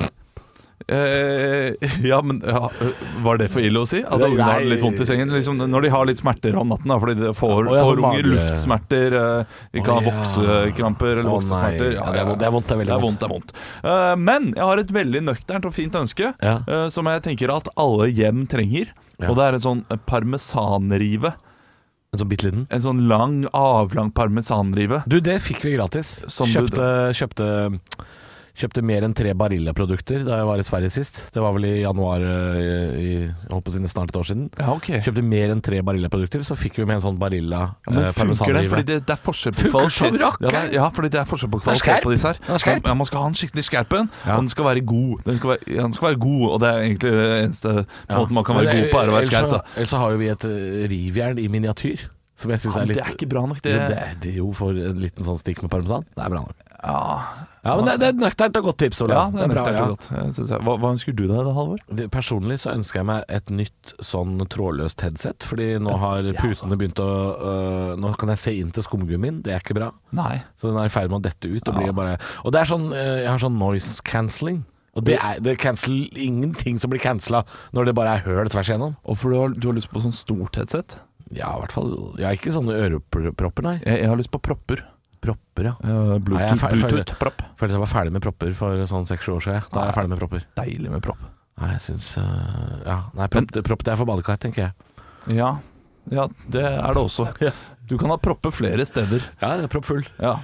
C: eh, Ja, men ja, eh, var det for ille å si? At ungen har det litt vondt i sengen? Liksom, når de har litt smerter om natten, da, fordi de får,
D: Å, ja,
C: får
D: sånn
C: unger
D: mage-
C: luftsmerter, eh, de kan
D: Å, ja.
C: ha voksekramper eller
D: Å, nei.
C: voksesmerter
D: Ja, det er vondt, det er vondt, det er veldig vondt.
C: det er vondt. Eh, men jeg har et veldig nøkternt og fint ønske,
D: Ja.
C: eh, som jeg tenker at alle hjem trenger.
D: Ja.
C: Og det er en sånn eh, parmesanrive.
D: En sånn bitte liten.
C: En sånn lang, avlang parmesanrive.
D: Du, det fikk vi gratis.
C: Som du-
D: kjøpte, kjøpte, kjøpte mer enn tre Barilla-produkter da jeg var i Sverige sist. Det var vel i januar eh, i, jeg holdt på å si, snart et år siden.
C: Ja, ok.
D: Kjøpte mer enn tre Barilla-produkter, så fikk vi med en sånn Barilla
C: Ja, men funker
D: eh,
C: det?
D: parmesanrive.
C: Fordi det, det er forskjell på
D: Funker som
C: kvalitet. Ja,
D: rakkeren.
C: det er, ja, fordi det er forskjell på
D: er
C: kvalitet
D: skerp.
C: på disse her.
D: Den er skerp.
C: Ja, man skal ha en skikkelig skerp en,
D: Ja.
C: og den skal være god. Den skal være, ja, den skal være god, og det er egentlig det eneste måten man kan være god på, er å være skerp. Da.
D: Ellers så har jo vi et eh, rivjern i miniatyr, som jeg syns
C: Ja,
D: er
C: men
D: litt
C: det er ikke bra nok, det.
D: Jo, det er det er jo for en liten sånn stikk med parmesan. Det er bra nok.
C: Ja,
D: Ja, men det, det er et nøkternt og godt tips,
C: ja,
D: Olav.
C: det er
D: bra,
C: nøkternt
D: ja.
C: og godt. Jeg synes jeg. Hva, hva ønsker du deg da, Halvor?
D: Det- Personlig så ønsker jeg meg et nytt sånn trådløst headset, fordi nå har
C: altså.
D: putene begynt å øh, Nå kan jeg se inn til skumgummien, det er ikke bra.
C: Nei.
D: Så den er i ferd med å dette ut. Og, blir bare, og det er sånn, øh, jeg har sånn noise cancelling. Og det, er, det canceller ingenting som blir cancela når det bare er høl tvers igjennom.
C: Og for du har, du har lyst på sånn stort headset?
D: Ja, i hvert fall Jeg har ikke sånne ørepropper, nei.
C: Jeg, jeg har lyst på propper.
D: Propper, ja.
C: Eh,
D: Nei, jeg er
C: Bluetooth-
D: ferdig- ferdig.
C: Bluetooth-propp.
D: Følte jeg var ferdig med propper for sånn seks-sju år siden. Da er jeg ferdig med propper.
C: Deilig med propp.
D: Nei, jeg syns øh, Ja. Nei, propp, propp det er for badekar, tenker jeg.
C: Ja. ja, det er det også. Du kan ha propper flere steder.
D: Ja, det er proppfull.
C: Ja.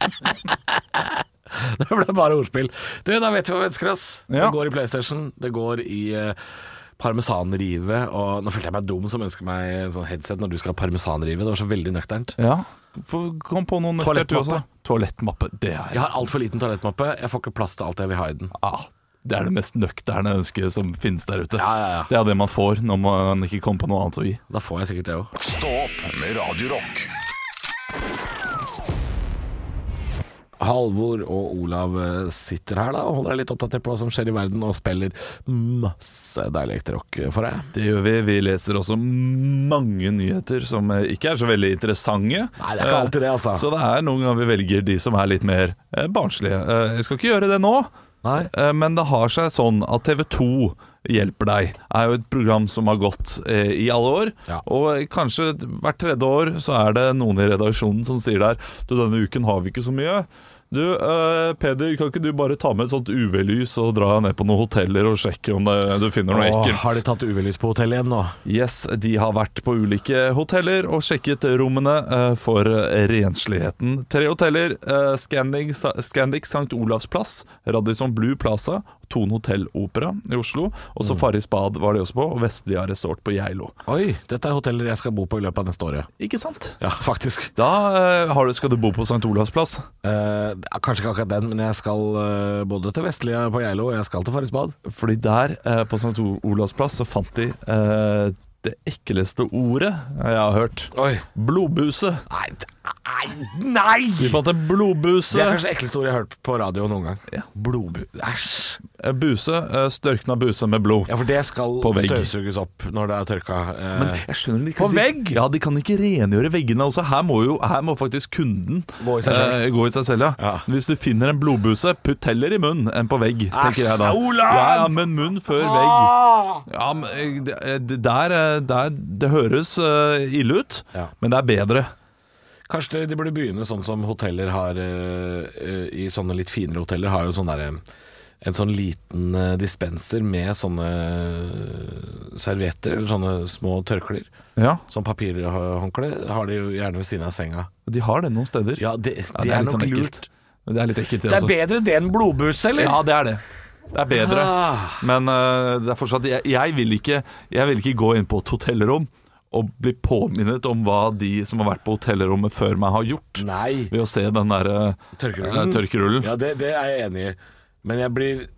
D: Det ble bare ordspill. Du, da vet vi hva vi ønsker oss.
C: Ja.
D: Det går i PlayStation, det går i eh, parmesanrive, og nå følte jeg meg dum som ønsker meg en sånn headset når du skal ha parmesanrive. Det var så veldig nøkternt.
C: Ja, få- Kom på noe nøktert du også.
D: Toalettmappe.
C: Toalettmappe. Det er,
D: Jeg har altfor liten toalettmappe, jeg får ikke plass til alt jeg vil ha i den.
C: ah, det er det mest nøkterne ønsket som finnes der ute.
D: Ja, ja, ja.
C: Det er det man får når man ikke kommer på noe annet å gi.
D: Da får jeg sikkert det òg.
A: Stå opp med Radio Rock.
D: Halvor og Olav eh, sitter her da og holder deg litt oppdatert på hva som skjer i verden, og spiller masse deilig ekte rock for deg.
C: Det gjør vi. Vi leser også mange nyheter som eh, ikke er så veldig interessante.
D: Nei, det er ikke
C: Eh,
D: alltid det, altså.
C: Så det er noen ganger vi velger de som er litt mer eh, barnslige. Eh, jeg skal ikke gjøre det nå,
D: Nei.
C: eh, men det har seg sånn at TV 2 Hjelper deg er jo et program som har gått eh, i alle år.
D: Ja.
C: Og kanskje hvert tredje år så er det noen i redaksjonen som sier der Du, denne uken har vi ikke så mye. Du, eh, Peder, kan ikke du bare ta med et sånt UV-lys og dra ned på noen hoteller og sjekke om det, du finner noe
D: Åh,
C: ekkelt?
D: har de tatt UV-lys på hotellet igjen nå?
C: Yes, de har vært på ulike hoteller og sjekket rommene eh, for eh, rensligheten. Tre hoteller, eh, Scandic, Sa- Scandic St. Olavs plass, Radisson Blue Plaza, Thon Hotel Opera i Oslo, og
D: Mm.
C: Safari Spad var de også på, og Vestlia Resort på Geilo.
D: Oi, dette er hoteller jeg skal bo på i løpet av neste året.
C: Ikke sant?
D: Ja, faktisk.
C: Da eh, har du, skal du bo på St. Olavs plass.
D: Eh, kanskje ikke akkurat den, men jeg skal eh, både til Vestlia på Geilo og jeg skal til Farris bad.
C: Fordi der, eh, på St. Olavs plass, så fant de eh, det ekleste ordet jeg har hørt.
D: Oi.
C: Blodbuse.
D: Nei, d- nei, nei!
C: De fant en
D: Det
C: blodbuse.
D: er kanskje det ekleste ordet jeg har hørt på radio noen gang. Ja. Blodbu... Æsj.
C: Eh, Buse, eh, størkna buse med blod.
D: Ja, for det skal
C: På vegg.
D: støvsuges opp når det er tørka. eh,
C: Men jeg skjønner de
D: På
C: kan-
D: vegg?
C: De, ja, de kan ikke rengjøre veggene også. Her må jo her må faktisk kunden
D: Gå i seg selv.
C: eh, gå i seg selv ja.
D: Ja.
C: Hvis du finner en blodbuse, putt heller i munnen enn på vegg, tenker jeg da.
D: Æsj, Olav!
C: Ja, ja, men munn før vegg.
D: Ah!
C: Ja, men eh, det, eh, det der, eh, der Det høres eh, ille ut,
D: Ja.
C: men det er bedre.
D: Kanskje de burde begynne sånn som hoteller har eh, eh, I sånne litt finere hoteller har jo sånn derre en sånn liten eh, dispenser med sånne eh, servietter, eller sånne små tørklær.
C: Ja,
D: Som papirhåndkle har de jo gjerne ved siden av senga.
C: de har det noen steder.
D: Ja, det,
C: Ja,
D: det er,
C: litt
D: nok
C: sånn
D: lurt.
C: ekkelt. Det er litt ekkelt, det,
D: Det er
C: også.
D: bedre det enn blodbuss, eller?
C: Ja, det er det. Det er bedre.
D: Ah.
C: Men eh, det er fortsatt jeg, jeg, vil ikke, jeg vil ikke gå inn på et hotellrom og bli påminnet om hva de som har vært på hotellrommet før meg, har gjort.
D: Nei.
C: Ved å se den der eh,
D: Tørkerullen.
C: eh, tørkerullen.
D: Ja, det, det er jeg enig i. Men jeg blir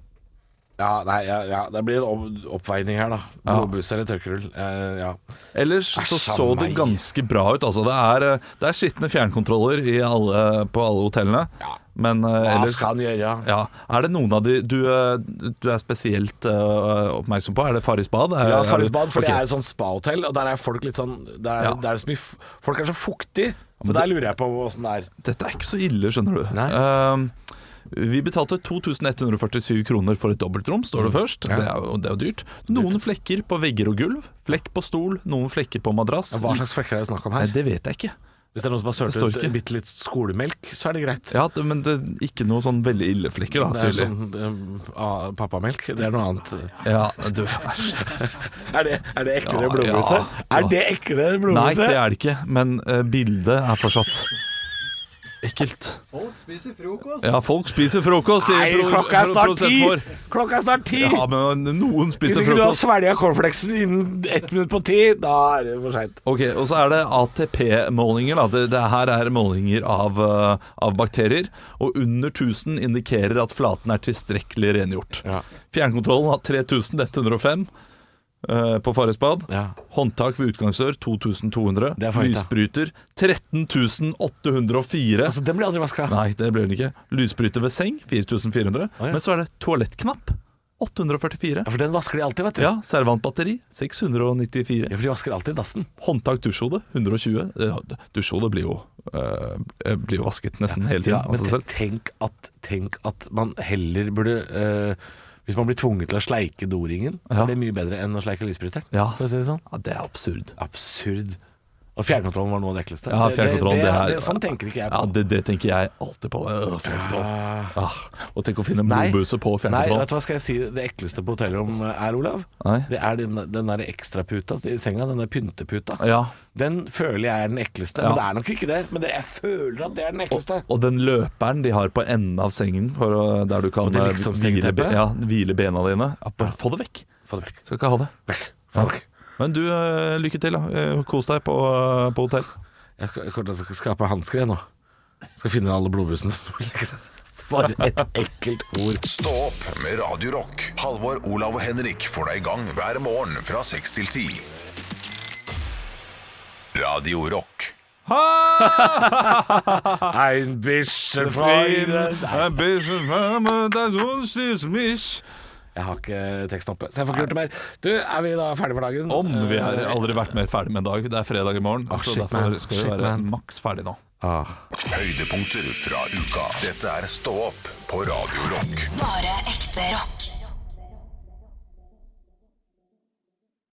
D: Ja, nei, ja, ja, det blir en opp, oppveining her, da. Blodbuss eller tørkerull. Eh, ja.
C: Ellers så
D: Æsj,
C: så det
D: meg.
C: ganske bra ut. Altså, det er, eh, det er skitne fjernkontroller i alle, på alle hotellene.
D: Ja.
C: Men eh,
D: Hva
C: ellers
D: skal han gjøre?
C: ja. Er det noen av de du, eh, du er spesielt eh, oppmerksom på? Er det Farris bad? Er-
D: Ja,
C: er
D: Farris
C: det-
D: bad, for
C: Ok.
D: det er jo sånn spahotell, og der er folk litt sånn der er,
C: Ja.
D: der er det så mye f- Folk er så fuktige, så der lurer jeg på åssen det er.
C: Dette er ikke så ille, skjønner du.
D: Nei.
C: Ehm, vi betalte 2147 kroner for et dobbeltrom, står det først.
D: Mm. Ja.
C: Det, er jo, det er jo dyrt. Noen flekker på vegger og gulv. Flekk på stol, noen flekker på madrass.
D: Hva slags flekker er det snakk om
C: Nei,
D: her?
C: det vet jeg ikke.
D: Hvis det er noen som har
C: det står
D: sølt ut
C: ikke.
D: bitte litt skolemelk, så er det greit.
C: Ja, det, Men det er ikke noe sånn veldig ille flekker, da,
D: Det er
C: tydelig.
D: sånn eh, ah, pappamelk. Det er noe annet.
C: Ja, du, æsj.
D: Er det, er det eklere
C: Ja,
D: blodbusse?
C: ja.
D: Er det eklere
C: Nei, det
D: blodbusse?
C: er det ikke. Men eh, bildet er fortsatt ekkelt.
E: Folk spiser frokost.
C: Ja, folk spiser frokost, sier pro-
D: klokka er
C: pro-
D: snart
C: produsent
D: ti!
C: vår.
D: Klokka er snart ti!
C: Ja, men noen
D: Hvis
C: spiser
D: ikke du har
C: frokost.
D: svelga cornflakesen innen ett minutt på ti, da er det for seint.
C: Ok, og så er det ATP-målinger. da. Det, det her er målinger av, eh, av bakterier. Og under 1000 indikerer at flaten er tilstrekkelig rengjort.
D: Ja.
C: Fjernkontrollen har 3105 eh, på Farris bad.
D: Ja.
C: Håndtak ved utgangsdør 2200.
D: Det er for høyt, da.
C: Lysbryter 13804.
D: Altså, den blir aldri vaska.
C: Nei, det ble den ikke. Lysbryter ved seng 4400.
D: Å, ja.
C: Men så er det toalettknapp 844.
D: Ja, for den vasker de alltid, vet du.
C: Ja, Servantbatteri 694.
D: Ja, for de vasker alltid dassen.
C: Håndtak dusjhode 120. Eh, Dusjhodet blir jo, eh, blir jo vasket nesten hele tiden
D: Ja,
C: av
D: men
C: seg
D: te-
C: selv.
D: tenk at, tenk at man heller burde eh, Hvis man blir tvunget til å sleike doringen, så
C: Ja.
D: er det mye bedre enn å sleike lysbryteren.
C: Ja.
D: For å si det sånn.
C: Ja, det er absurd.
D: Absurd. Og fjernkontrollen var noe av det ekleste.
C: Ja, fjernkontrollen, det,
D: det, det,
C: her
D: det, Sånn tenker ikke jeg på.
C: Ja, det, det tenker jeg alltid på. Øh, fjernkontroll. Ah, og tenk å finne
D: Nei.
C: blodbuse på
D: Nei, vet
C: fjernkontroll.
D: du hva skal jeg si det ekleste på hotellrom er, Olav?
C: Nei.
D: Det er den, den der ekstraputa i senga, den der pynteputa.
C: Ja.
D: Den føler jeg er den ekleste,
C: Ja.
D: men det er nok ikke det. Men det, jeg føler at det er den ekleste.
C: Og den løperen de har på enden av sengen, for, å- der du kan
D: Og det
C: eh,
D: liksom
C: hvile,
D: sengeteppet?
C: be- ja, hvile bena dine ja, Bare få det vekk.
D: Få det vekk.
C: Skal ikke ha det.
D: Vekk. Få det vekk.
C: Men du, eh, lykke til. da Eh, Kos deg på, eh, på hotell.
D: Jeg skal, jeg kommer til å skape hansker jeg nå. Skal finne alle blodbussene. som ligger der. For et ekkelt ord.
A: Stå opp med Radio Rock. Halvor, Olav og Henrik får deg i gang hver morgen fra 6 til 10. Radio Rock.
D: Ein Jeg har ikke teksten oppe, så jeg får ikke gjort det mer. Du, er vi da ferdige for dagen?
C: Om vi har
D: Eh,
C: aldri vært mer ferdig med en dag. Det er fredag i morgen.
D: Ah,
C: så
D: shit,
C: derfor
D: man.
C: skal vi
D: Shit,
C: være
D: man.
C: maks ferdig nå.
D: ah.
A: Høydepunkter fra uka. Dette er Stå opp på Radio Rock.
B: Bare ekte rock.